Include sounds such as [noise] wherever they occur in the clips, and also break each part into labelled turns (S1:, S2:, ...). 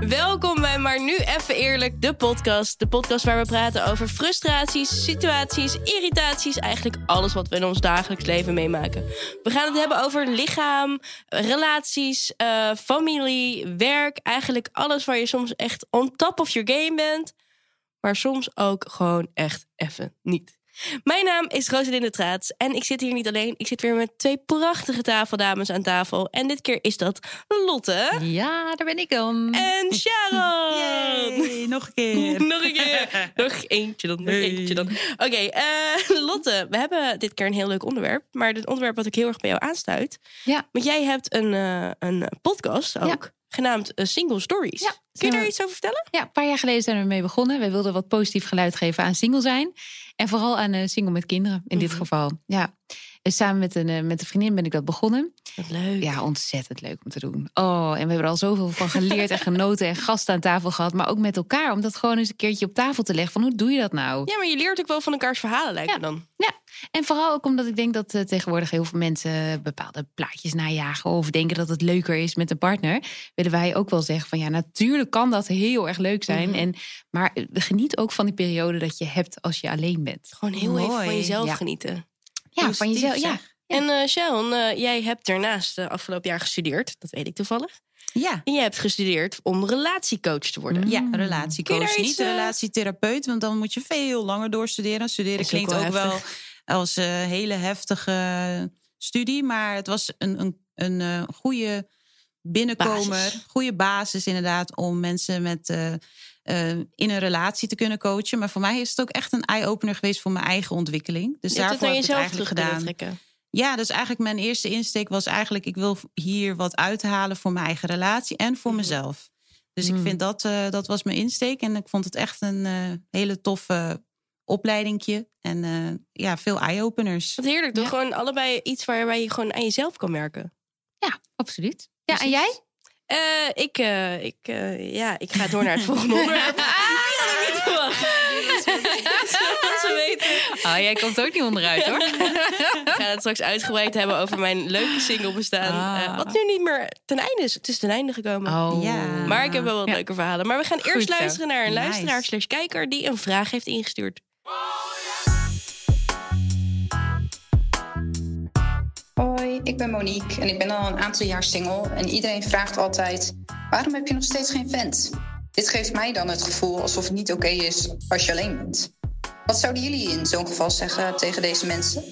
S1: Welkom bij Maar Nu Even Eerlijk, de podcast. De podcast waar we praten over frustraties, situaties, irritaties. Eigenlijk alles wat we in ons dagelijks leven meemaken. We gaan het hebben over lichaam, relaties, eh, familie, werk. Eigenlijk alles waar je soms echt on top of your game bent. Maar soms ook gewoon echt even niet. Mijn naam is Rosalinde Traats en ik zit hier niet alleen. Ik zit weer met twee prachtige tafeldames aan tafel. En dit keer is dat Lotte
S2: Ja, daar ben ik dan.
S1: en Sharon.
S2: Yay, nog een keer.
S1: [laughs] Nog een keer. Nog eentje dan. Nog eentje dan. Oké, eh, [laughs] Lotte, we hebben dit keer een heel leuk onderwerp. Maar het onderwerp wat ik heel erg bij jou aansluit.
S2: Ja.
S1: Want jij hebt een, eh, een podcast ook. Genaamd eh, Single Stories.
S2: Ja.
S1: Kun je daar iets over vertellen?
S2: Ja, een paar jaar geleden zijn we ermee begonnen. Wij wilden wat positief geluid geven aan single zijn. En vooral aan eh, single met kinderen in dit
S1: Mhm.
S2: geval. Ja. En samen met een, eh, met een vriendin ben ik dat begonnen.
S1: Wat leuk.
S2: Ja, ontzettend leuk om te doen. Oh, en we hebben er al zoveel van geleerd en genoten en gasten aan tafel gehad. Maar ook met elkaar. Om dat gewoon eens een keertje op tafel te leggen. Van hoe doe je dat nou?
S1: Ja, maar je leert ook wel van elkaars verhalen, lijkt me dan.
S2: En vooral ook omdat ik denk dat eh, tegenwoordig heel veel mensen eh, bepaalde plaatjes najagen of denken dat het leuker is met een partner. Willen wij ook wel zeggen van ja, natuurlijk kan dat heel erg leuk zijn.
S1: Mhm.
S2: En, maar eh, geniet ook van die periode dat je hebt als je alleen bent.
S1: Gewoon heel even
S3: Mooi.
S1: van jezelf
S2: Ja.
S1: genieten.
S2: Ja, van jezelf. Ja,
S3: zeg.
S2: Ja.
S1: En eh, Sharon, eh, jij hebt daarnaast eh, afgelopen jaar gestudeerd. Dat weet ik toevallig.
S3: Ja.
S1: En jij hebt gestudeerd om relatiecoach te worden.
S2: Mm.
S3: Ja,
S2: Mm.
S1: Kun je
S3: relatiecoach,
S1: daar iets,
S3: niet de
S1: eh,
S3: relatietherapeut. Want dan moet je veel langer doorstuderen. Studeren
S1: Is ook
S3: klinkt
S1: wel
S3: ook wel als een hele heftige studie. Maar het was een, een, een eh, goede binnenkomer.
S1: Basis.
S3: Goede basis inderdaad om mensen met... eh, eh, in een relatie te kunnen coachen. Maar voor mij is het ook echt een eye-opener geweest voor mijn eigen ontwikkeling. Dus
S1: Je hebt het
S3: daarvoor
S1: naar
S3: heb ik het
S1: jezelf
S3: eigenlijk
S1: terug kunnen
S3: gedaan.
S1: trekken.
S3: Ja, dus eigenlijk mijn eerste insteek was eigenlijk... ik wil hier wat uithalen voor mijn eigen relatie en voor
S1: Mhm.
S3: mezelf. Dus
S2: Mm.
S3: ik vind dat, eh, dat was mijn insteek. En ik vond het echt een eh, hele toffe opleidingje. En eh, ja, veel eye-openers.
S1: Wat heerlijk, doe
S2: Ja.
S1: gewoon allebei iets waarbij je gewoon aan jezelf kan werken.
S2: Ja, absoluut. Ja, en
S3: Precies.
S2: jij?
S1: Eh, ik, eh, ik, eh, ja, ik ga door naar het [laughs] volgende onderwerp. Ah, Ik had het niet verwacht. Zoals we weten.
S2: Oh, jij komt ook niet onderuit [laughs] hoor.
S1: Ik ga het straks uitgebreid hebben over mijn leuke single bestaan.
S2: Ah.
S1: eh, wat nu niet meer ten einde is. Het is ten einde gekomen.
S2: Oh.
S3: Ja.
S1: Maar ik heb wel wat
S2: Ja.
S1: leuke verhalen. Maar we gaan eerst
S2: Goed zo.
S1: luisteren naar een
S3: Nice.
S1: luisteraar slash kijker die een vraag heeft ingestuurd.
S4: Hoi, ik ben Monique en ik ben al een aantal jaar single. En iedereen vraagt altijd: waarom heb je nog steeds geen vent? Dit geeft mij dan het gevoel alsof het niet oké is als je alleen bent. Wat zouden jullie in zo'n geval zeggen tegen deze mensen?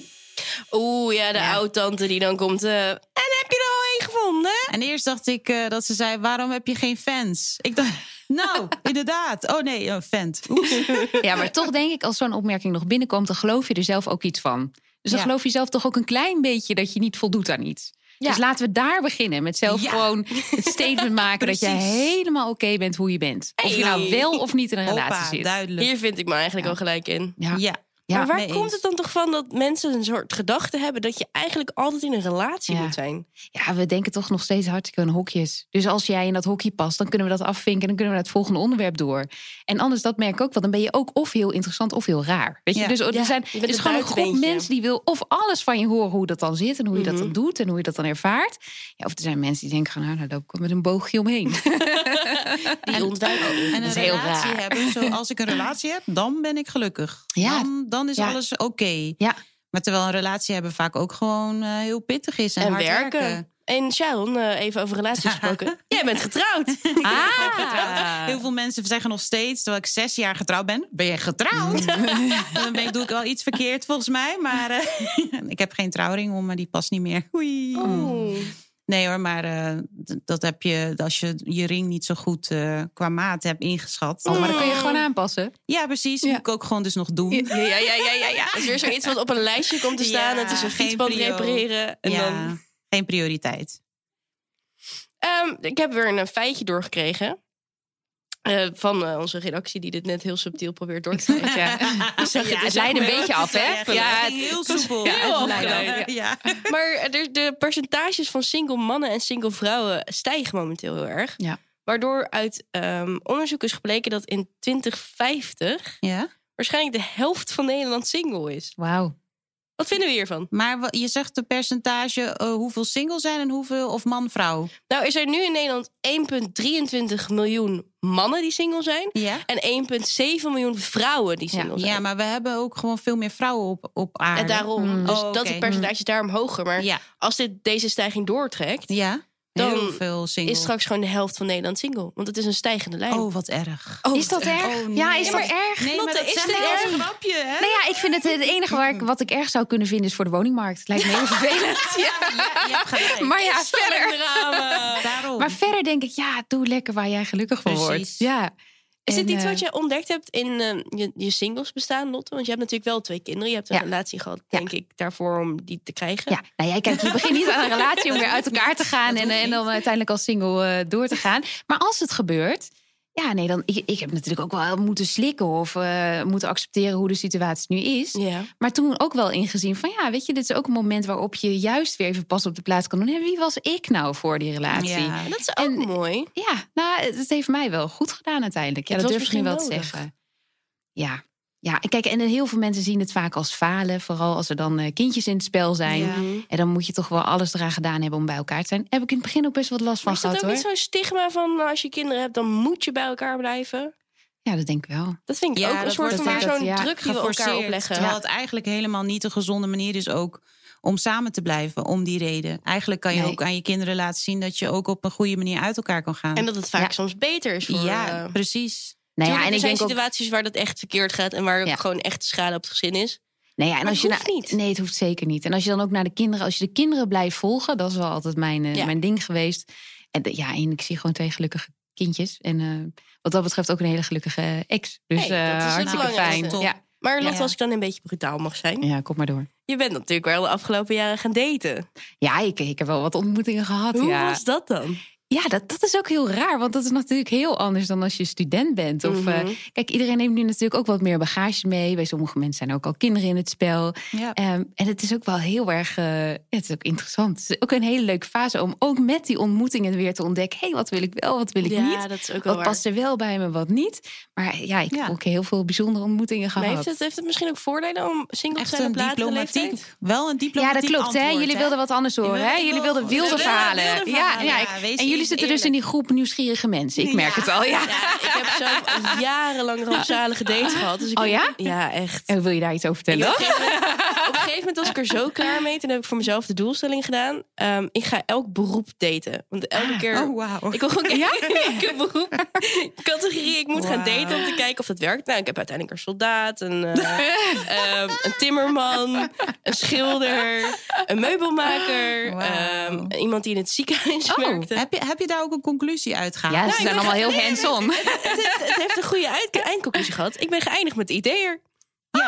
S1: Oeh, ja, de
S2: Ja.
S1: oud-tante die dan komt. eh, en heb je er al één gevonden?
S3: En eerst dacht ik eh, dat ze zei, waarom heb je geen fans? Ik dacht, [laughs]
S2: [laughs]
S3: nou, inderdaad. Oh nee, een vent. Oeps.
S2: Ja, maar toch denk ik, als zo'n opmerking nog binnenkomt, dan geloof je er zelf ook iets van. Dus dan
S3: Ja.
S2: geloof je zelf toch ook een klein beetje dat je niet voldoet aan iets.
S1: Ja.
S2: Dus laten we daar beginnen. Met zelf
S3: Ja.
S2: gewoon het statement maken dat je
S3: Precies.
S2: helemaal oké bent hoe je bent. Of je nou
S1: Hey.
S2: wel of niet in een relatie
S3: Hoppa,
S2: zit.
S3: duidelijk.
S1: Hier vind ik me eigenlijk al gelijk in.
S2: Ja. Ja.
S3: Ja.
S1: maar waar
S3: mee
S1: komt
S3: eens.
S1: het dan toch van dat mensen een soort gedachte hebben dat je eigenlijk altijd in een relatie
S2: Ja.
S1: moet zijn?
S2: ja, we denken toch nog steeds hartstikke aan hokjes. Dus als jij in dat hokje past, dan kunnen we dat afvinken en dan kunnen we naar het volgende onderwerp door. En anders, dat merk ik ook wel, dan ben je ook of heel interessant of heel raar. Weet je,
S3: Ja.
S2: dus er
S1: Ja,
S2: zijn
S1: je bent
S2: er is
S1: een
S2: gewoon een groep
S1: buitenbeentje.
S2: mensen die wil of alles van je horen hoe dat dan zit en hoe je dat dan doet en hoe je dat dan ervaart. Ja, of er zijn mensen die denken, van, nou, daar loop ik wel met een boogje
S1: [laughs]
S2: omheen.
S1: Die ontduiken.
S3: En een
S2: is heel
S3: relatie
S2: raar.
S3: hebben. Zo, als ik een relatie heb, dan ben ik gelukkig.
S2: Ja.
S3: Dan, dan is
S2: Ja.
S3: alles oké.
S2: Ja.
S3: Maar terwijl een relatie hebben vaak ook gewoon eh, heel pittig is en,
S1: En
S3: hard
S1: werken.
S2: [laughs]
S1: En Sharon, eh, even over
S3: [laughs]
S1: relaties gesproken. Jij bent getrouwd.
S2: Ah,
S3: Heel veel mensen zeggen nog steeds, terwijl ik zes jaar getrouwd ben, ben je getrouwd?
S2: Mm.
S3: [laughs] dan ben ik, doe ik wel iets verkeerd volgens mij, maar eh, [laughs] ik heb geen trouwring om, maar die past niet meer. Oei.
S1: Ah. Oeh.
S3: Nee hoor, maar eh, d- dat heb je als je je ring niet zo goed eh, qua maat hebt ingeschat.
S2: Oh, maar dat kun je gewoon aanpassen.
S3: Ja, precies. Moet ik ook gewoon dus nog doen.
S2: Ja, ja, ja, ja, ja. ja.
S1: Is weer zoiets wat op een lijstje komt te staan.
S3: Ja,
S1: het is een
S3: geen
S1: fietsband
S3: prio.
S1: repareren. En
S3: ja,
S1: dan...
S3: geen
S2: [laughs]
S3: prioriteit.
S1: Ehm, ik heb weer een eh, feitje doorgekregen. eh, van eh, onze redactie, die dit net heel subtiel probeert
S3: [laughs]
S1: door te trekken.
S2: Dus zeg je,
S3: Ja,
S2: het
S3: zeg
S2: leidde een
S3: maar.
S2: beetje af, hè?
S3: Ja,
S2: Ja,
S3: het ging heel soepel.
S2: Ja,
S1: heel
S3: het
S1: afgeleid,
S3: leidde- ja. [laughs]
S1: Maar eh, de, de percentages van single mannen en single vrouwen stijgen momenteel heel erg.
S2: Ja.
S1: Waardoor uit ehm, onderzoek is gebleken dat in 2050
S3: Ja?
S1: waarschijnlijk de helft van Nederland single is.
S2: Wauw.
S1: Wat vinden we hiervan?
S3: Maar wa- je zegt de percentage eh, hoeveel single zijn en hoeveel of man-vrouw.
S1: Nou, is er nu in Nederland 1,23 miljoen mannen die single zijn.
S3: Ja.
S1: En 1,7 miljoen vrouwen die single zijn.
S3: Ja, maar we hebben ook gewoon veel meer vrouwen op, op aarde.
S1: En daarom. Dus
S3: Oh,
S1: dat
S3: oké.
S1: het percentage is daarom hoger. Maar
S3: Ja,
S1: als dit, deze stijging doortrekt,
S3: ja.
S1: Dan
S3: heel veel single.
S1: is straks gewoon de helft van Nederland single. Want het is een stijgende lijn.
S3: Oh, eh, wat erg.
S1: Oh,
S2: Is dat
S1: wat-
S2: erg?
S3: nee.
S2: Ja, is
S3: Maar-
S2: dat erg?
S3: Nee,
S1: Lotte,
S3: maar
S1: is
S3: dat zeg
S1: dit
S3: ik als
S1: erg?
S3: een grapje, hè?
S2: Nou ja, ik vind het het enige waar ik, wat ik erg zou kunnen vinden is voor de woningmarkt. Lijkt me heel vervelend.
S3: Ja, je hebt
S1: [laughs]
S3: gelijk.
S2: Maar ja,
S1: Stel
S2: verder.
S1: ik ramen.
S3: Daarom.
S2: Maar verder denk ik, ja, doe lekker waar jij gelukkig van wordt.
S3: Precies.
S2: Ja.
S1: Is dit
S2: En,
S1: iets
S2: eh,
S1: wat je ontdekt hebt in eh, je, je singles bestaan, Lotte? Want je hebt natuurlijk wel twee kinderen. Je hebt een
S2: Ja.
S1: relatie gehad,
S2: Ja.
S1: denk ik, daarvoor om die te krijgen.
S2: Ja, nou jij kijkt, je begint niet aan een relatie om weer uit elkaar te gaan
S3: Dat
S2: en,
S3: hoeft
S2: eh, en dan uiteindelijk als single eh, door te gaan. Maar als het gebeurt, ja, nee, dan ik, ik heb natuurlijk ook wel moeten slikken of eh, moeten accepteren hoe de situatie nu is.
S1: Ja.
S2: Maar toen ook wel ingezien van ja, weet je, dit is ook een moment waarop je juist weer even pas op de plaats kan doen. En wie was ik nou voor die relatie? Ja,
S3: Ja.
S1: En dat is ook
S2: En- eh,
S1: mooi.
S2: nou, het heeft mij wel goed gedaan uiteindelijk. Ja,
S1: Het
S2: dat
S1: was
S2: durf ik nu wel
S1: misschien
S2: te
S1: nodig.
S2: zeggen. Ja. Ja, kijk, en heel veel mensen zien het vaak als falen. Vooral als er dan eh, kindjes in het spel zijn.
S3: Ja.
S1: Mhm.
S2: En dan moet je toch wel alles eraan gedaan hebben om bij elkaar te zijn. Heb ik in het begin ook best wat
S1: Maar
S2: last van
S1: is dat
S2: gehad
S1: ook
S2: hoor.
S1: niet zo'n stigma van nou, als je kinderen hebt, dan moet je bij elkaar blijven?
S2: Ja, dat denk ik wel. Nou
S1: Dat vind ik
S3: Ja,
S1: ook een
S3: dat
S1: soort
S2: wordt
S1: van weer
S2: vaak-
S1: zo'n
S2: ja,
S1: druk die we elkaar
S3: geforceerd,
S1: opleggen.
S3: Terwijl het eigenlijk helemaal niet een gezonde manier is ook om samen te blijven, om die reden. Eigenlijk kan je
S2: Nee.
S3: ook aan je kinderen laten zien dat je ook op een goede manier uit elkaar kan gaan.
S1: En dat het vaak
S2: Ja.
S1: soms beter is voor...
S3: ja,
S1: eh,
S3: precies.
S2: Nou ja,
S1: tuurlijk,
S2: en
S1: er
S2: ik
S1: zijn
S2: denk ook.
S1: situaties waar dat echt verkeerd gaat en waar
S2: Ja.
S1: ook gewoon echt schade op het gezin is.
S2: Nee, ja, en
S1: Maar
S2: als je
S1: het hoeft
S2: nou-
S1: niet.
S2: Nee, het hoeft zeker niet. En als je dan ook naar de kinderen, als je de kinderen blijft volgen, dat is wel altijd mijn, eh,
S1: Ja.
S2: mijn ding geweest. En de- ja, en ik zie gewoon twee gelukkige kindjes. En eh, wat dat betreft ook een hele gelukkige ex. Dus
S1: Hey, dat
S2: eh,
S1: is het
S2: hartstikke fijn.
S1: belangrijkste.
S2: Ja.
S1: Maar Lotte,
S3: Ja.
S1: als ik dan een beetje brutaal mag zijn.
S2: ja, kom maar door.
S1: Je bent natuurlijk wel de afgelopen jaren gaan daten.
S2: Ja, ik, ik heb wel wat ontmoetingen gehad.
S1: Hoe
S2: ja.
S1: was dat dan?
S2: Ja, dat, dat is ook heel raar. Want dat is natuurlijk heel anders dan als je student bent. Of, eh,
S1: Mhm.
S2: kijk, iedereen neemt nu natuurlijk ook wat meer bagage mee. Bij sommige mensen zijn ook al kinderen in het spel.
S3: Ja.
S2: Ehm, en het is ook wel heel erg... eh, ja, het is ook interessant. Het is ook een hele leuke fase om ook met die ontmoetingen weer te ontdekken... hé, hey, wat wil ik wel, wat wil ik
S1: ja,
S2: niet?
S1: dat is ook wel
S2: Wat
S1: waar.
S2: past er wel bij me, wat niet? Maar ja, ik
S3: Ja.
S2: heb ook heel veel bijzondere ontmoetingen
S1: Maar
S2: gehad.
S1: heeft het, heeft het misschien ook voordelen om single te
S3: Echt
S1: zijn
S3: een
S1: op latere leeftijd?
S3: diplomatiek. Wel een
S2: Ja,
S3: diplomatiek
S2: dat klopt. Hè?
S3: antwoord,
S2: Jullie wilden wat anders horen.
S3: wilde
S2: Hè?
S3: wel-
S2: Jullie wilden
S3: we
S2: wilde
S3: wilden
S2: verhalen.
S3: wilde
S2: Ja,
S3: verhalen.
S2: Nou ja,
S3: Ja,
S2: ik-
S3: wees
S2: en jullie
S3: even
S2: zitten dus in die groep nieuwsgierige mensen. Ik merk
S3: Ja.
S2: het al, ja.
S1: Ja, ik heb
S2: [laughs]
S1: zelf jarenlang rampzalige dates gehad. Dus ik
S2: Oh ja?
S1: Ja, echt.
S2: En wil je daar iets over vertellen?
S1: Op een, gegeven moment, op een gegeven moment was ik er zo klaar mee. Toen heb ik voor mezelf de doelstelling gedaan. Ehm, ik ga elk beroep daten. Want
S2: Ah,
S1: elke keer...
S3: Oh, wauw.
S1: [laughs] Ik wil gewoon kijken welke
S3: [laughs]
S1: beroep, categorie ik moet gaan daten om te kijken of dat werkt. Nou, ik heb uiteindelijk een soldaat,
S3: [laughs]
S1: een, eh, ehm, een timmerman, een schilder, een meubelmaker,
S3: Wauw. Oh.
S1: ehm, iemand die in het ziekenhuis werkte.
S3: Heb je, heb je daar ook een conclusie uit gehaald?
S2: Ja,
S1: Nou, ik
S2: ze
S1: ben
S2: zijn allemaal heel
S1: gaan- [laughs]
S2: hands-on.
S1: het, heeft, het heeft een goede uit- eindconclusie gehad. Ik ben geëindigd met IT'er.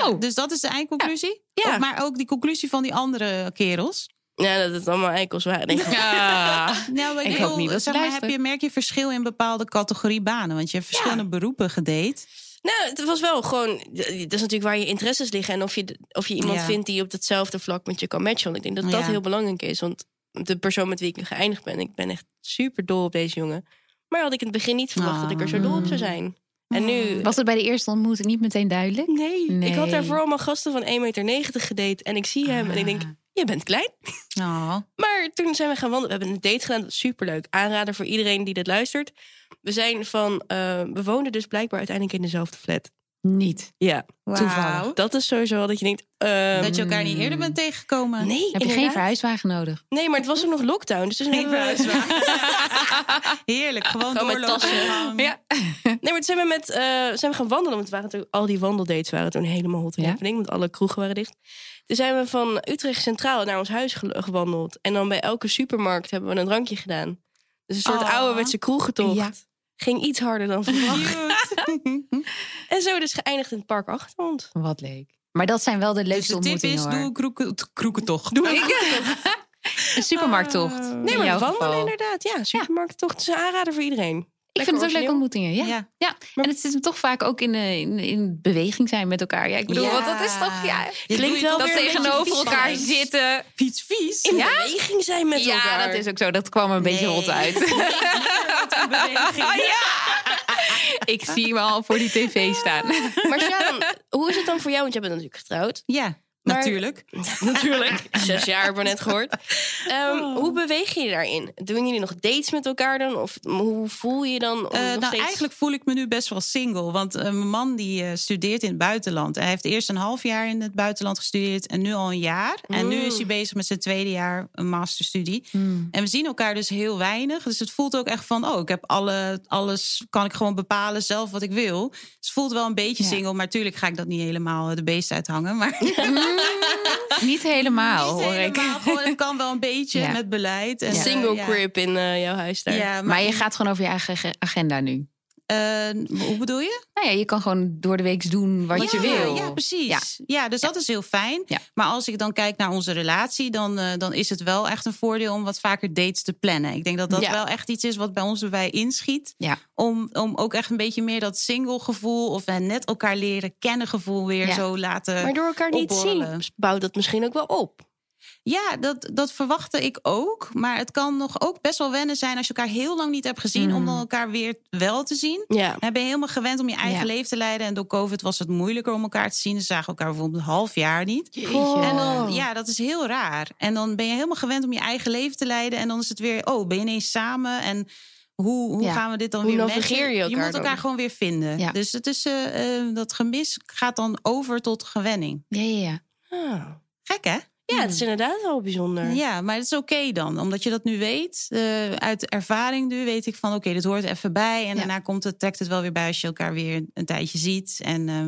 S2: Oh,
S3: Dus dat is de eindconclusie?
S1: Ja.
S3: Ook- Oh, maar ook die conclusie van die andere kerels?
S1: Ja, dat het allemaal eikels waren. Nee,
S2: ja.
S3: Nou, maar
S2: Ik
S3: bedoel,
S2: hoop niet dat ze
S3: zeg maar, heb
S2: luisteren.
S3: je, merk je verschil in bepaalde categorie banen? Want je hebt verschillende beroepen gedate.
S1: Nou, het was wel gewoon. eh, Dat is natuurlijk waar je interesses liggen. En of je, of je iemand
S3: Ja.
S1: vindt die op datzelfde vlak met je kan matchen. Want ik denk dat dat
S3: Ja.
S1: heel belangrijk is. Want de persoon met wie ik nu geëindigd ben, ik ben echt super dol op deze jongen. Maar had ik in het begin niet verwacht dat ik er zo dol op zou zijn. En nu.
S3: Ah.
S2: Was het bij de eerste ontmoeting niet meteen duidelijk?
S1: Nee.
S2: Nee.
S1: ik had daarvoor allemaal gasten van 1,90 meter gedate. En ik zie hem en ik
S3: Ah.
S1: denk, je bent klein.
S3: Oh.
S1: Maar toen zijn we gaan wandelen. We hebben een date gedaan. Dat was superleuk. Aanrader voor iedereen die dit luistert. We zijn van. eh, we woonden dus blijkbaar uiteindelijk in dezelfde flat.
S2: Niet.
S1: Ja.
S3: Toeval.
S1: Dat is sowieso wel dat je denkt. ehm,
S3: Dat je elkaar niet eerder bent tegengekomen.
S1: Nee,
S2: Heb je geen
S1: inderdaad.
S2: verhuiswagen nodig?
S1: Nee, maar het was ook nog lockdown. Dus toen
S3: Geen
S1: hebben we-
S2: [laughs]
S3: Heerlijk, gewoon,
S1: Gewoon met
S3: doorlopen.
S1: tassen.
S3: Ja.
S1: Nee, maar toen zijn we, met, eh, zijn we gaan wandelen. Want het waren toen, al die wandeldates waren toen helemaal hot in
S2: Ja.
S1: happening. Want alle kroegen waren dicht. Toen zijn we van Utrecht Centraal naar ons huis ge- gewandeld. En dan bij elke supermarkt hebben we een drankje gedaan. Dus een soort
S3: Oh.
S1: ouderwetse kroegentocht.
S2: Ja.
S1: Ging iets harder dan
S2: [laughs]
S1: verwacht. en zo dus geëindigd in het park Achterhond.
S2: Wat leuk. Maar dat zijn wel de
S3: Dus
S2: leukste
S3: de tip
S2: ontmoetingen
S3: is, doe
S2: hoor.
S1: [laughs]
S3: een kroeke- t- kroekentocht.
S2: [laughs] Een supermarkttocht.
S1: Oh. Nee,
S2: in
S1: maar
S2: jouw
S1: wandelen
S2: geval.
S1: inderdaad. Ja, supermarkttocht is een aanrader voor iedereen.
S2: Ik vind het ook leuke ontmoetingen. Ja. ja.
S3: Ja.
S2: En het zit hem toch vaak ook in, eh, in, in beweging zijn met elkaar. Ja, ik bedoel,
S3: Ja.
S2: want dat is toch... Ja,
S3: Je
S1: Klinkt
S3: doet
S1: wel
S2: dat
S1: weer een beetje
S2: tegenover
S1: vies
S2: elkaar
S1: balans.
S2: zitten.
S3: Iets vies.
S1: In beweging zijn met
S2: ja,
S1: elkaar.
S2: dat is ook zo. Dat kwam een beetje
S3: [laughs] Nee.
S2: rot uit. Oh, ik zie me al voor die tv staan.
S3: [laughs]
S1: Maar Sharon, hoe is het dan voor jou? Want jij bent natuurlijk getrouwd.
S3: Ja.
S1: Maar-
S3: Natuurlijk.
S1: Natuurlijk. Zes jaar hebben we net gehoord. Ehm,
S3: Oh.
S1: Hoe beweeg je je daarin? Doen jullie nog dates met elkaar dan? Of hoe voel je je dan? om
S3: Eh,
S1: Oh, nog
S3: nou,
S1: steeds-
S3: eigenlijk voel ik me nu best wel single. Want eh, mijn man die eh, studeert in het buitenland. Hij heeft eerst een half jaar in het buitenland gestudeerd en nu al een jaar. En nu is hij bezig met zijn tweede jaar een masterstudie.
S2: Hmm.
S3: En we zien elkaar dus heel weinig. Dus het voelt ook echt van, oh, ik heb alle, alles, kan ik gewoon bepalen zelf wat ik wil. Dus het voelt wel een beetje
S2: Ja.
S3: single, maar natuurlijk ga ik dat niet helemaal eh, de beest uithangen. Maar
S2: Niet helemaal,
S3: niet
S2: hoor ik.
S3: helemaal, gewoon, het kan
S2: [laughs]
S3: wel een beetje
S2: Ja.
S3: met beleid. En,
S1: een
S3: eh,
S1: single
S3: ja.
S1: crib in eh, jouw huis daar.
S3: Ja, maar
S2: Maar je gaat gewoon over je eigen ge- agenda nu.
S3: eh, hoe bedoel je?
S2: Nou ja, je kan gewoon door de week doen wat je
S3: ja, ja,
S2: wil.
S3: Ja, precies.
S2: Ja.
S3: Ja, dus dat is heel fijn.
S2: Ja.
S3: Maar als ik dan kijk naar onze relatie, dan, eh, dan is het wel echt een voordeel om wat vaker dates te plannen. Ik denk dat dat
S1: Ja.
S3: wel echt iets is wat bij ons erbij inschiet.
S2: Ja.
S3: Om, om ook echt een beetje meer dat single gevoel of eh, net elkaar leren kennen gevoel weer
S2: Ja.
S3: zo laten.
S1: Maar door elkaar niet
S3: opborrelen.
S1: zien, bouwt dat misschien ook wel op.
S3: Ja, dat, dat verwachtte ik ook. Maar het kan nog ook best wel wennen zijn als je elkaar heel lang niet hebt gezien,
S2: Mm.
S3: om dan elkaar weer wel te zien.
S1: Ja.
S3: Dan Nou, ben je helemaal gewend om je eigen
S2: Ja.
S3: leven te leiden. En door COVID was het moeilijker om elkaar te zien. Ze zagen elkaar bijvoorbeeld een half jaar niet.
S1: Oh.
S2: Goh.
S3: En dan, ja, dat is heel raar. En dan ben je helemaal gewend om je eigen leven te leiden. En dan is het weer, oh, ben je ineens samen? En hoe, hoe
S2: Ja.
S3: gaan we dit dan
S1: Hoe
S3: weer
S1: navigeer
S3: matchen?
S1: je elkaar
S3: moet elkaar
S1: dan?
S3: gewoon weer vinden.
S2: Ja.
S3: Dus het is, eh, eh, dat gemis gaat dan over tot gewenning.
S2: Ja, ja, ja.
S1: Ah.
S3: Gek, hè?
S1: Ja, het is
S3: Hmm.
S1: inderdaad wel bijzonder.
S3: Ja, maar het is oké dan. Omdat je dat nu weet. eh, uit ervaring nu weet ik van, oké, dit hoort er even bij. En
S2: Ja.
S3: daarna komt het, trekt het wel weer bij als je elkaar weer een tijdje ziet. En eh,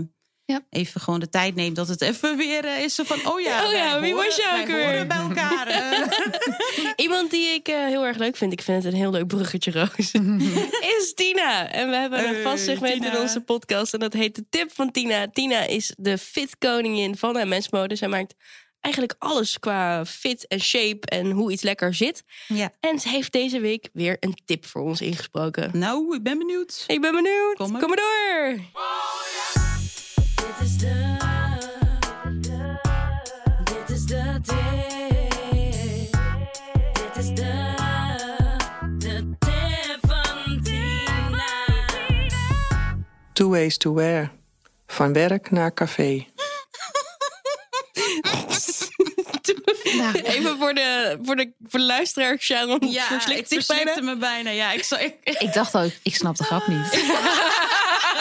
S2: Ja.
S3: even gewoon de tijd neemt dat het [laughs] even weer eh, is zo van, oh ja,
S1: Oh ja,
S3: wij
S1: wie
S3: horen-
S1: was je
S3: wij
S1: ook weer?
S3: horen bij elkaar. eh.
S1: Iemand die ik eh, heel erg leuk vind, ik vind het een heel leuk bruggetje,
S3: [laughs]
S1: Roos, is Tina. En we hebben een
S3: Hey,
S1: vast segment in
S3: Tina.
S1: onze podcast en dat heet de tip van Tina. Tina is de fit koningin van MS Mode. Zij maakt eigenlijk alles qua fit en shape en hoe iets lekker zit.
S3: ja.
S1: En ze heeft deze week weer een tip voor ons ingesproken.
S3: Nou, ik ben benieuwd.
S1: Ik ben benieuwd. Kom maar,
S3: Kom maar.
S1: door. Dit is de, dit is de tip. Dit is de, de tip van [laughs] Tina.
S5: Two Ways to Wear. Van werk naar café.
S1: Nou, Even voor de, voor de, voor de luisteraar, Sharon verslikt zich bijna.
S3: me bijna. Ja, ik zal, ik-
S2: Ik dacht al, ik snap de grap niet.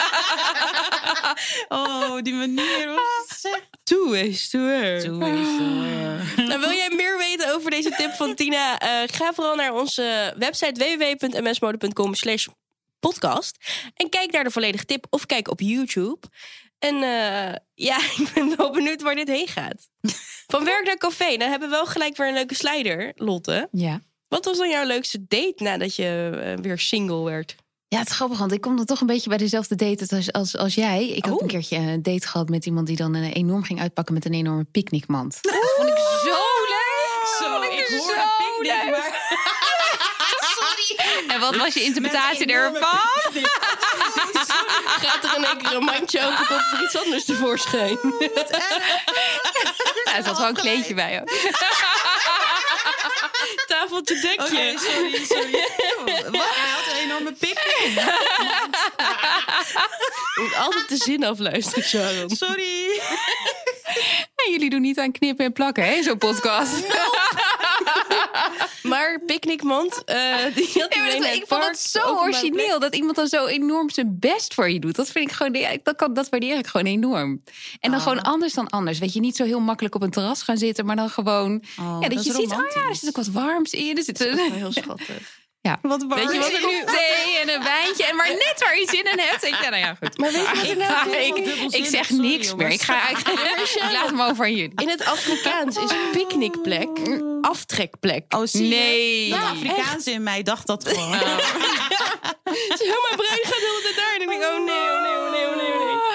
S3: [laughs] oh, die manier. hoe ze het
S1: Two ways to wear.
S3: zegt. Doe eens, hoor.
S1: Nou, wil jij meer weten over deze tip van Tina? Eh, ga vooral naar onze website www.msmode.com slash podcast. En kijk naar de volledige tip of kijk op YouTube. En eh, ja, [laughs] ik ben wel benieuwd waar dit heen gaat. Van werk naar café. Dan hebben we wel gelijk weer een leuke slider, Lotte.
S2: Ja.
S1: Wat was dan jouw leukste date nadat je eh, weer single werd?
S2: Ja, het is grappig, want ik kom dan toch een beetje bij dezelfde date als, als, als jij. Ik had
S1: Oh.
S2: een keertje een date gehad met iemand die dan eh, enorm ging uitpakken met een enorme picknickmand. Dat vond ik
S1: Oh,
S2: zo leuk!
S3: Zo, ik hoor een picknick, maar... Oh,
S2: En wat was je interpretatie ervan?
S1: Gaat er in één keer een mandje open, komt er iets anders tevoorschijn?
S2: Ja, er zat wel een kleedje bij. Hoor.
S1: Tafeltje
S3: Oké,
S1: dekje.
S3: sorry, sorry. Wat? Hij had een enorme picknick.
S1: Je moet altijd de zin afluisteren, Sharon.
S3: Sorry.
S2: En jullie doen niet aan knippen en plakken, hè, in zo'n [laughs] podcast.
S1: Maar Picknickmand, eh die had
S2: Ja, maar
S1: iedereen in
S2: dat-
S1: het
S2: ik vond
S1: park,
S2: het zo
S1: openbare plek.
S2: origineel dat iemand dan zo enorm zijn best voor je doet. Dat vind ik gewoon, ja, dat, kan, dat waardeer ik gewoon enorm. En dan gewoon anders dan anders. Weet je, niet zo heel makkelijk op een terras gaan zitten, maar dan gewoon. ja, dat,
S3: dat is
S2: je ziet, oh ja, er
S3: romantisch.
S2: zit ook wat warms in. Er zit [laughs]
S1: Oh,
S2: een
S1: Heel schattig.
S2: ja.
S3: Wat
S1: Weet je wat
S2: Een
S1: ik nu...
S2: kop thee en een wijntje. En maar net waar je zin in hebt. Ik, ja, nou ja, goed.
S1: Maar weet je wat er nou
S2: Maar
S1: heel-
S2: ik, ik zeg
S3: Sorry,
S2: niks meer. Ik, ga, ik, [laughs] ik laat hem over aan jullie.
S1: In het Afrikaans is picknickplek aftrekplek.
S3: Oh, zie je?
S2: Nee.
S3: Dat Afrikaanse in mij dacht dat gewoon.
S1: Dus [laughs] heel mijn brein gaat heel de tijd daar. En ik denk, oh nee, oh nee, oh nee, oh nee, oh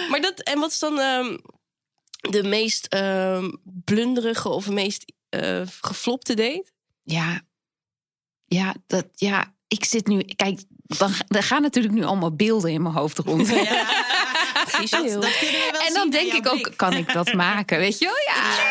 S1: nee. Maar dat, en wat is dan ehm, de meest ehm, blunderige of meest eh, geflopte date?
S2: Ja, ja, dat, ja, ik zit nu. Kijk, dan, er gaan natuurlijk nu allemaal beelden in mijn hoofd
S1: [laughs]
S2: rond.
S3: Ja,
S2: Ah,
S3: dat, dat kunnen we wel
S2: en
S3: zien aan
S2: dan denk
S3: jouw
S2: ik ook,
S3: blik.
S2: kan ik dat maken? Weet je wel? Ja,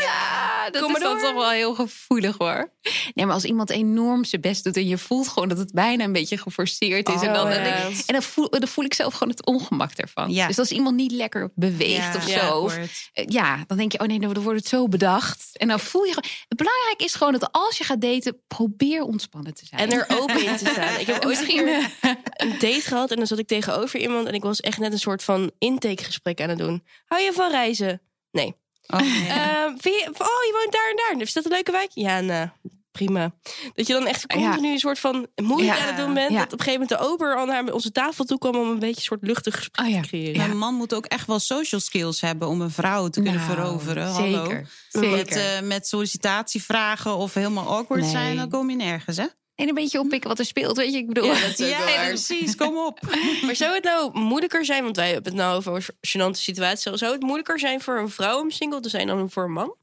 S2: ja, dat
S1: Kom
S2: is
S1: maar
S2: dan
S1: door.
S2: toch wel heel gevoelig hoor. Nee, maar als iemand enorm zijn best doet en je voelt gewoon dat het bijna een beetje geforceerd is.
S1: Oh,
S2: en dan,
S1: ja.
S2: dan denk ik- en dan, voel, dan voel ik zelf gewoon het ongemak ervan.
S3: Ja.
S2: Dus als iemand niet lekker beweegt
S3: Ja,
S2: of
S1: ja,
S2: zo. of,
S3: akkoord.
S2: eh, ja, dan denk je, oh nee, dan wordt het zo bedacht. En dan voel je gewoon. Het belangrijk is gewoon dat als je gaat daten, probeer ontspannen te zijn.
S1: En er open in te staan. Ik
S2: [laughs]
S1: heb ooit een keer
S2: eh,
S1: een date gehad en dan zat ik tegenover iemand en ik was echt net een soort van intakegesprek aan het doen. Hou je van reizen? Nee.
S3: Oh,
S1: [laughs]
S3: nee.
S1: Ehm, vind je, oh, je woont daar en daar. Is dat een leuke wijk? Ja, nou, prima. Dat je dan echt
S2: Ja.
S1: continu een soort van moeilijk
S2: Ja.
S1: aan het doen bent.
S2: Ja.
S1: Dat op een gegeven moment de ober al naar onze tafel toe kwam om een beetje een soort luchtig gesprek
S2: Oh, ja.
S1: te creëren.
S3: Een man moet ook echt wel social skills hebben om een vrouw te kunnen
S2: Nou,
S3: veroveren. Hallo.
S2: Zeker.
S3: Met,
S2: zeker.
S3: eh, met sollicitatievragen of helemaal awkward
S2: Nee.
S3: zijn, dan kom je nergens, hè?
S2: En een beetje oppikken wat er speelt, weet je. Ik bedoel,
S3: ja eh. precies. Kom op.
S1: Maar zou het nou moeilijker zijn, want wij hebben het nou over gênante situaties. Zou het moeilijker zijn voor een vrouw om single te zijn dan voor een man?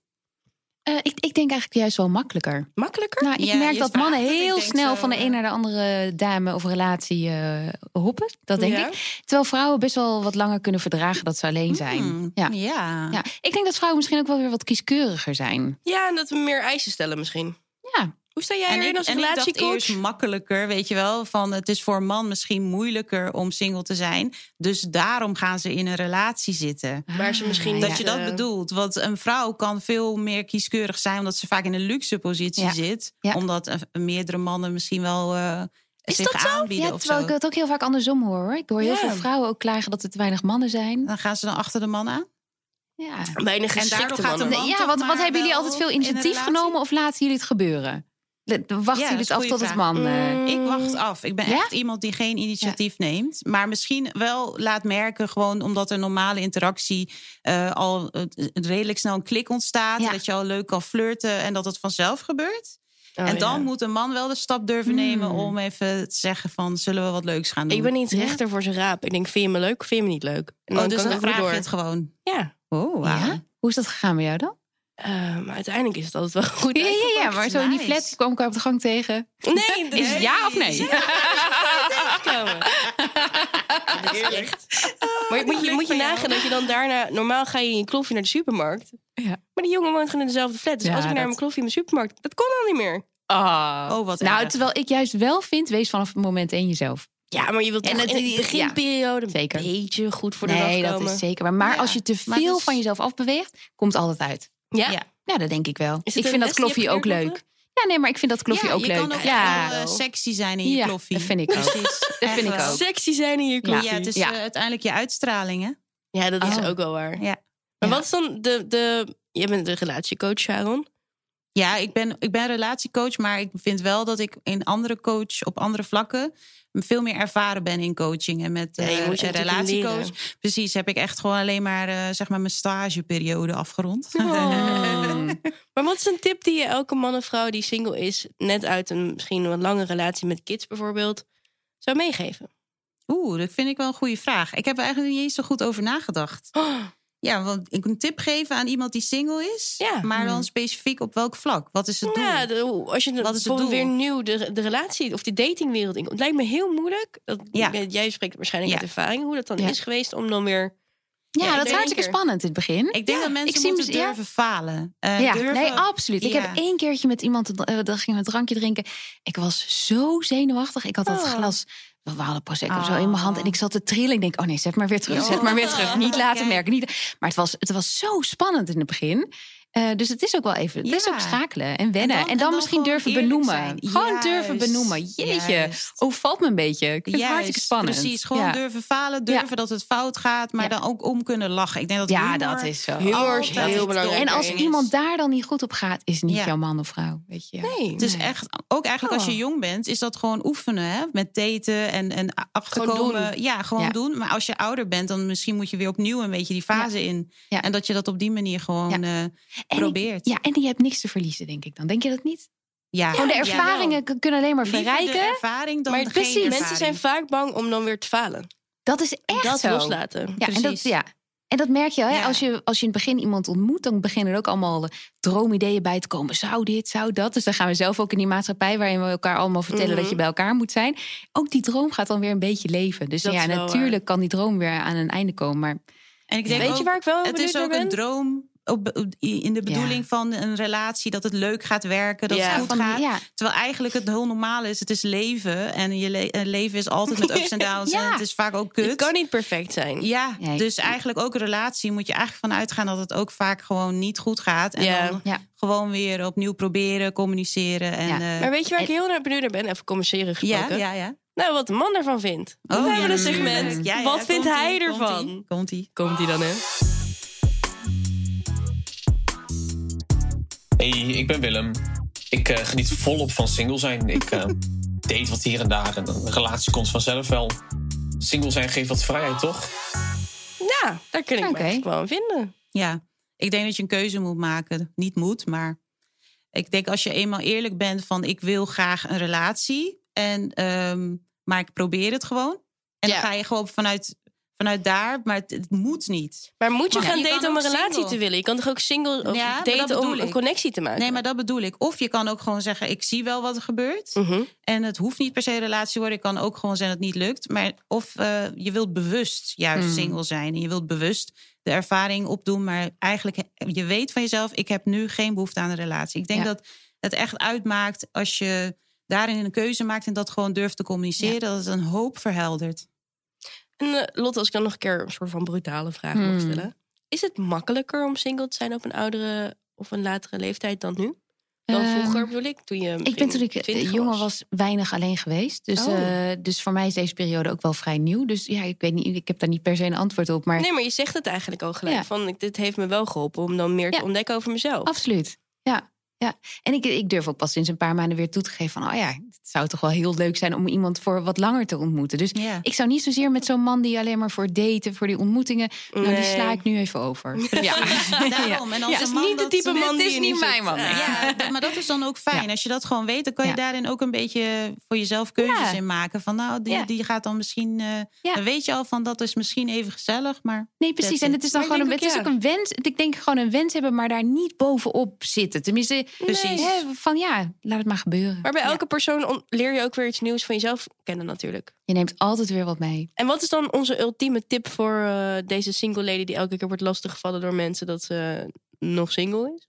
S2: Eh, ik, ik denk eigenlijk juist wel makkelijker.
S1: Makkelijker?
S2: Nou, ik
S3: Ja,
S2: merk
S3: je
S2: dat mannen
S3: vraagt het, ik
S2: heel
S3: denk
S2: snel
S3: zo,
S2: van de een
S3: eh.
S2: naar de andere dame of relatie eh, hoppen. Dat denk
S1: Ja.
S2: ik. Terwijl vrouwen best wel wat langer kunnen verdragen dat ze alleen zijn.
S3: Hmm,
S2: Ja.
S3: ja.
S2: Ja. Ik denk dat vrouwen misschien ook wel weer wat kieskeuriger zijn.
S1: Ja, en dat we meer eisen stellen misschien.
S2: Ja.
S1: Hoe sta jij
S3: En
S1: erin
S3: ik,
S1: als
S3: en ik dacht
S1: relatiecoach?
S3: eerst makkelijker, weet je wel. Van het is voor een man misschien moeilijker om single te zijn. Dus daarom gaan ze in een relatie zitten.
S1: Waar ze misschien
S2: Ah,
S1: niet-
S3: Dat
S1: Ja.
S3: je dat
S1: Eh.
S3: bedoelt. Want een vrouw kan veel meer kieskeurig zijn, omdat ze vaak in een luxe positie
S2: Ja.
S3: zit.
S2: Ja.
S3: Omdat eh, meerdere mannen misschien wel eh zich
S2: dat zo?
S3: aanbieden
S2: Ja,
S3: of
S2: terwijl
S3: zo.
S2: ik het ook heel vaak andersom hoor. hoor. Ik hoor heel
S1: Ja.
S2: veel vrouwen ook klagen dat er te weinig mannen zijn.
S3: Dan gaan ze dan achter de man aan.
S2: Ja,
S1: Weinig
S3: En daardoor
S1: geschikte
S3: gaat de
S1: mannen.
S3: man-
S2: ja
S3: toch
S2: wat,
S3: maar
S2: wat hebben jullie
S3: wel
S2: altijd veel
S3: in een
S2: initiatief
S3: relatie?
S2: genomen of laten jullie het gebeuren? De- de- Wachten
S3: Ja,
S2: jullie
S3: dat
S2: het
S3: is
S2: af
S3: een
S2: tot
S3: goeie
S2: het man... eh,
S1: Mm.
S3: Ik wacht af. Ik ben
S2: Ja?
S3: echt iemand die geen initiatief neemt. Maar misschien wel laat merken, gewoon omdat er normale interactie eh, al eh, redelijk snel een klik ontstaat.
S2: Ja.
S3: Dat je al leuk kan flirten en dat het vanzelf gebeurt.
S1: Oh,
S3: en dan
S1: ja.
S3: moet een man wel de stap durven
S2: Hmm.
S3: nemen om even te zeggen van zullen we wat leuks gaan doen.
S1: Ik ben niet
S2: Ja.
S1: rechter voor zijn raap. Ik denk, vind je me leuk of vind je me niet leuk? En dan
S3: oh, dus
S1: kan
S3: dan
S1: ik ook
S3: vraag
S1: weer
S3: je
S1: door.
S3: het gewoon.
S1: Ja,
S3: Oh,
S2: ja? Hoe is dat gegaan met jou dan?
S1: Eh, maar uiteindelijk is het altijd wel goed.
S2: Ja, ja, ja, maar zo in die
S3: Nice.
S2: flat kwam ik haar op de gang tegen.
S1: [laughs] Nee,
S2: Is het ja of nee?
S1: tegenkomen. Dat is echt. Maar moet je, moet je nagaan dat je dan daarna... Normaal ga je in je kloffie naar de supermarkt.
S2: Ja.
S1: Maar die jongen woont gewoon in dezelfde flat. Dus
S2: Ja,
S1: als ik naar
S2: dat-
S1: mijn kloffie in mijn supermarkt... Dat kon al niet meer.
S3: Oh, wat
S2: nou,
S3: erg.
S2: terwijl ik juist wel vind, wees vanaf het moment één jezelf.
S1: Ja, maar je wilt
S2: En
S1: toch
S2: het-
S1: in de
S2: ja.
S1: beginperiode... een
S2: Zeker.
S1: beetje goed voor de
S2: nee,
S1: dag
S2: dat
S1: komen.
S2: is zeker. waar. Maar
S3: Ja,
S2: als je te
S3: maar
S2: veel
S3: dus-
S2: van jezelf afbeweegt, komt altijd uit.
S1: Ja?
S3: Ja.
S2: Nou, dat denk ik wel.
S1: Is
S2: Ik
S1: het een
S2: vind dat
S1: les die je
S2: kloffie
S1: hebt
S2: ook
S1: geleerd,
S2: leuk. Ja, nee, maar ik vind dat kloffie
S3: ja,
S2: ook
S3: je
S2: leuk.
S3: kan ook
S2: ja,
S3: echt wel, eh, sexy zijn in je
S2: Ja,
S3: kloffie.
S2: dat vind ik ook.
S3: Precies.
S2: Dat vind
S3: Echt
S2: ik
S3: wel.
S2: ook.
S1: Sexy zijn in je
S3: Ja,
S1: kloffie. Ja,
S3: het is
S2: Ja.
S3: eh, uiteindelijk je uitstraling, hè?
S1: dat is
S2: Oh.
S1: ook wel waar.
S3: Ja.
S1: Maar
S2: Ja.
S1: wat is dan de... de... Jij bent de relatiecoach, Sharon.
S3: Ja, ik ben, ik ben relatiecoach, maar ik vind wel dat ik in andere coach op andere vlakken veel meer ervaren ben in coaching. En met
S1: Ja, je
S3: eh,
S1: moet je
S3: een
S1: natuurlijk
S3: relatiecoach, precies, heb ik echt gewoon alleen maar, eh, zeg maar mijn stageperiode afgerond. eh, Oh.
S1: [laughs]
S2: Mm.
S3: [laughs]
S1: Maar wat is een tip die je elke man of vrouw die single is, net uit een misschien wat lange relatie met kids bijvoorbeeld, zou meegeven?
S3: Oeh, dat vind ik wel een goede vraag. Ik heb er eigenlijk niet eens zo goed over nagedacht.
S1: Nou
S3: Ja, want ik een tip geven aan iemand die single is,
S1: Ja.
S3: maar
S2: Mm.
S3: dan specifiek op welk vlak? Wat is het doel?
S1: Ja, de- als je
S3: Wat is het
S1: bijvoorbeeld
S3: doel?
S1: weer nieuw de, de relatie of die datingwereld in Het lijkt me heel moeilijk. Dat,
S3: Ja.
S1: ik weet, Jij spreekt waarschijnlijk
S3: Ja.
S1: uit ervaring hoe dat dan
S2: Ja.
S1: is geweest om dan weer.
S2: ja,
S1: Ja, ik
S2: dat is
S1: denk
S2: hartstikke
S1: er.
S2: spannend in het begin.
S3: Ik denk dat
S2: ik
S3: mensen
S2: zie
S3: moeten
S2: mez- ja.
S3: durven falen. Eh,
S2: ja,
S3: durven-
S2: nee, absoluut. Ik
S3: Ja.
S2: heb één keertje met iemand, eh, dat gingen we een drankje drinken. Ik was zo zenuwachtig. Ik had dat
S1: Oh.
S2: glas, we hadden prosecco of zo
S3: Oh.
S2: in mijn hand. En ik zat te trillen. Ik denk, oh nee, zet maar weer terug,
S3: Ja.
S2: zet maar weer terug. Niet laten
S3: Kijk.
S2: merken. Niet... Maar het was, het was zo spannend in het begin. Eh, dus het is ook wel even, het is
S3: Ja.
S2: ook schakelen en wennen. En dan,
S3: En dan- en dan
S2: misschien
S3: gewoon
S2: durven
S3: eerlijk
S2: benoemen.
S3: zijn.
S2: Gewoon durven
S3: Juist.
S2: benoemen. Jeetje,
S3: Juist.
S2: overvalt me een beetje. Ik vind het hartstikke
S3: Juist,
S2: spannend.
S3: Precies, gewoon
S2: ja.
S3: durven falen, durven dat het fout gaat, maar
S2: Ja.
S3: dan ook om kunnen lachen. Ik denk dat
S2: Ja,
S3: humor
S2: dat is zo.
S1: Humor is
S3: altijd
S1: heel
S3: het
S1: belangrijk.
S2: En
S3: doorheen
S2: als
S3: is.
S2: iemand daar dan niet goed op gaat, is niet
S3: Ja.
S2: jouw man of vrouw. Weet je.
S1: Nee.
S3: Het is
S2: Nee.
S3: echt, ook eigenlijk als je
S2: Oh.
S3: jong bent, is dat gewoon oefenen. Hè? Met daten en, en achterkomen.
S1: Gewoon
S3: Ja, gewoon
S2: Ja.
S3: doen. Maar als je ouder bent, dan misschien moet je weer opnieuw een beetje die fase in.
S2: Ja.
S3: En dat je dat op die manier gewoon eh,
S2: En ik-
S3: probeert.
S2: Ja, en je hebt niks te verliezen, denk ik dan. Denk je dat niet?
S3: ja.
S2: Gewoon de ervaringen k- kunnen alleen maar
S3: Liever de
S2: verrijken.
S3: ervaring dan
S2: Maar
S3: geen
S2: precies,
S3: ervaring.
S1: Mensen zijn vaak bang om dan weer te falen.
S2: Dat is echt
S1: dat
S2: zo.
S1: loslaten.
S2: Ja, en dat,
S3: Precies.
S2: ja. En dat merk je, hè?
S3: Ja.
S2: Als, je als je in het begin iemand ontmoet, dan beginnen er ook allemaal eh, droomideeën bij te komen. Zou dit, zou dat. Dus dan gaan we zelf ook in die maatschappij waarin we elkaar allemaal vertellen
S1: Mhm.
S2: dat je bij elkaar moet zijn. Ook die droom gaat dan weer een beetje leven. Dus
S1: Dat
S2: ja,
S1: is wel waar.
S2: natuurlijk kan die droom weer aan een einde komen. Maar
S3: En ik denk
S1: Weet je
S3: ook-
S1: waar ik wel heel
S3: Het
S1: benieuwd
S3: is
S1: naar
S3: ook
S1: ben?
S3: een droom op, in de bedoeling van een relatie dat het leuk gaat werken, dat
S1: Ja.
S3: het goed
S2: Van-
S3: gaat.
S2: ja.
S3: Terwijl eigenlijk het heel normaal is. Het is leven en je le- eh, leven is altijd met ups en downs
S2: Ja.
S3: en het is vaak ook kut.
S1: Het kan niet perfect zijn.
S3: Ja,
S2: Nee.
S3: dus eigenlijk ook een relatie moet je eigenlijk van uitgaan dat het ook vaak gewoon niet goed gaat. En
S1: Ja.
S3: dan
S2: Ja.
S3: gewoon weer opnieuw proberen, communiceren. En,
S2: Ja.
S3: eh,
S1: Maar weet je waar ik heel naar benieuwd naar ben? Even communiceren
S3: ja,
S1: gesproken.
S3: ja, ja.
S1: Nou, wat de man ervan vindt. We
S3: Oh,
S1: hebben
S3: ja,
S1: een segment.
S3: natuurlijk. Ja, ja,
S1: wat
S3: ja,
S1: vindt
S3: komt-ie,
S1: hij
S3: komt-ie,
S1: ervan?
S3: Komt-ie.
S1: Komt hij dan, hè?
S6: Hey, ik ben Willem. Ik eh, geniet volop van single zijn. Ik eh, date wat hier en daar en een relatie komt vanzelf wel. Single zijn geeft wat vrijheid, toch?
S1: Ja, daar kun ik me
S2: Oké.
S1: echt wel aan vinden.
S3: Ja, ik denk dat je een keuze moet maken. Niet moet, maar ik denk als je eenmaal eerlijk bent van ik wil graag een relatie. En, ehm, maar ik probeer het gewoon. En
S2: Ja.
S3: dan ga je gewoon vanuit, vanuit daar, maar het, het moet niet.
S1: Maar moet je
S3: Maar ja,
S1: gaan
S3: je kan
S1: daten om een
S3: ook
S1: relatie
S3: single.
S1: te willen? Je kan toch ook single of
S3: Ja, maar dat
S1: daten om
S3: bedoel
S1: een
S3: ik.
S1: connectie te maken?
S3: Nee, maar dat bedoel ik. Of je kan ook gewoon zeggen, ik zie wel wat er gebeurt.
S2: Mm.
S1: Mhm.
S3: En het hoeft niet per se een relatie te worden. Het kan ook gewoon zijn dat het niet lukt. Maar of eh, je wilt bewust juist
S2: Mm.
S3: single zijn. En je wilt bewust de ervaring opdoen. Maar eigenlijk, he- je weet van jezelf... ik heb nu geen behoefte aan een relatie. Ik denk
S2: Ja.
S3: dat het echt uitmaakt als je daarin een keuze maakt... en dat gewoon durft te communiceren. Dat het een hoop verheldert.
S1: En eh, Lotte, als ik dan nog een keer een soort van brutale vraag mag
S2: Hmm.
S1: stellen. Is het makkelijker om single te zijn op een oudere of een latere leeftijd dan nu? Dan
S2: Ehm,
S1: vroeger bedoel Eh, ik, toen je
S2: Ik ben toen ik eh,
S1: 20
S2: jonger was weinig alleen geweest. Dus,
S1: Oh.
S2: eh, dus voor mij is deze periode ook wel vrij nieuw. Dus ja, ik weet niet, ik heb daar niet per se een antwoord op. Maar
S1: Nee, maar je zegt het eigenlijk al gelijk.
S2: Ja.
S1: Van, ik- dit heeft me wel geholpen om dan meer te
S2: Ja.
S1: ontdekken over mezelf.
S2: absoluut. Ja. ja. En ik, ik durf ook pas sinds een paar maanden weer toe te geven van, oh ja, het zou toch wel heel leuk zijn om iemand voor wat langer te ontmoeten. Dus
S3: Ja.
S2: ik zou niet zozeer met zo'n man die alleen maar voor daten, voor die ontmoetingen, nou die
S1: Nee.
S2: sla ik nu even
S3: [laughs]
S2: over. Ja.
S3: Daarom. En als
S1: Ja, het
S3: een
S1: is
S3: man
S1: niet de
S3: dat-
S1: type man
S2: Dit
S1: die
S2: is
S1: je
S2: niet
S1: nu zoekt.
S2: mijn man, nee.
S1: Ah.
S2: [laughs]
S3: Ja, dat- maar dat is dan ook fijn.
S2: Ja.
S3: Als je dat gewoon weet, dan kan je
S2: Ja.
S3: daarin ook een beetje voor jezelf keuzes
S2: Ja.
S3: in maken. Van nou, die,
S2: Ja.
S3: die gaat dan misschien. eh,
S2: Ja.
S3: Dan weet je al van dat is misschien even gezellig, maar.
S2: Nee, precies.
S3: That's
S2: En
S3: it.
S2: het is dan
S1: Maar ik
S2: gewoon een,
S1: denk
S2: het is
S1: ook,
S2: ook een wens. Ik denk gewoon een wens hebben, maar daar niet bovenop zitten. Tenminste,
S3: Precies.
S2: hè, van ja, laat het maar gebeuren.
S1: Maar bij elke persoon on- leer je ook weer iets nieuws van jezelf kennen natuurlijk.
S2: Je neemt altijd weer wat mee.
S1: En wat is dan onze ultieme tip voor eh, deze single lady die elke keer wordt lastiggevallen door mensen dat ze eh, nog single is?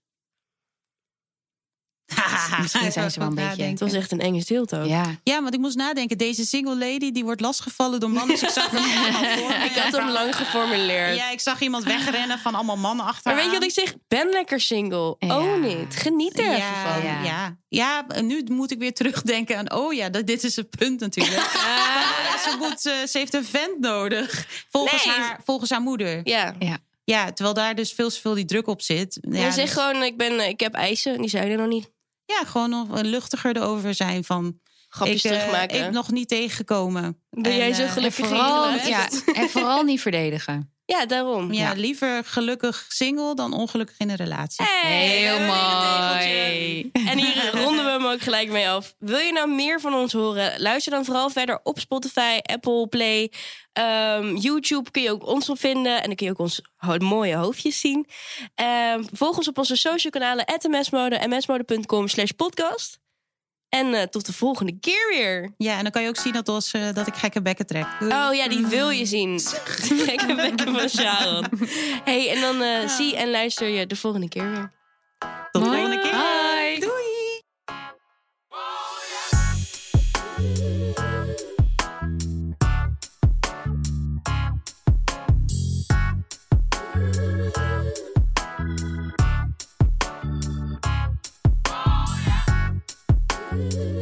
S2: [laughs] Misschien zijn ze wel een beetje-
S3: Even
S1: Het
S3: nadenken.
S1: was echt een enge stilte ook.
S2: Ja.
S3: Ja, want ik moest nadenken. Deze single lady die wordt lastgevallen door mannen. Dus ik
S2: [laughs]
S3: zag hem allemaal voor me.
S1: Ik had hem lang geformuleerd.
S3: Ja, ik zag iemand wegrennen van allemaal mannen achter.
S1: maar weet je wat ik zeg? Ben lekker single. Own
S2: Ja.
S1: it. Geniet er even
S3: Ja,
S1: van.
S3: ja. ja. ja, en nu moet ik weer terugdenken aan... oh ja, dat, dit is het punt
S2: [laughs]
S3: natuurlijk. Van, oh ja, ze, moet, eh, ze heeft een vent nodig, volgens,
S1: Nee.
S3: haar, volgens haar moeder.
S1: Ja.
S3: Ja, terwijl daar dus veel te veel die druk op zit. Ja,
S1: en zeg
S3: dus-
S1: gewoon, ik, ben, eh, ik heb eisen. Die zijn er nog niet.
S3: ja gewoon nog luchtiger erover zijn van...
S1: Grapjes
S3: ik, eh,
S1: terugmaken.
S3: ik nog niet tegengekomen.
S1: Ben
S3: En,
S1: jij zo
S3: eh,
S1: gelukkig
S2: Vooral,
S1: niet
S2: ja, en vooral niet verdedigen.
S1: ja, daarom.
S3: Ja, liever gelukkig single dan ongelukkig in een relatie.
S1: Hey,
S2: Heel
S1: we hebben weer een
S2: mooi.
S1: tegeltje. En hier ronden we hem ook gelijk mee af. Wil je nou meer van ons horen? Luister dan vooral verder op Spotify, Apple Play. ehm, YouTube kun je ook ons op vinden. En dan kun je ook ons ho- mooie hoofdjes zien. Ehm, volg ons op onze social kanalen. msmode, msmode.com slash podcast. En eh, tot de volgende keer weer.
S3: Ja, en dan kan je ook zien dat, ons, eh, dat ik gekke bekken trek. Doei.
S1: Oh ja, die wil je
S2: [laughs]
S1: zien. Gekke bekken van Sharon. hey, en dan
S2: Ah.
S1: eh, zie en luister je de volgende keer weer.
S3: Tot de volgende keer.
S1: Ah.
S2: Bye.
S3: Doei.
S7: Ooh.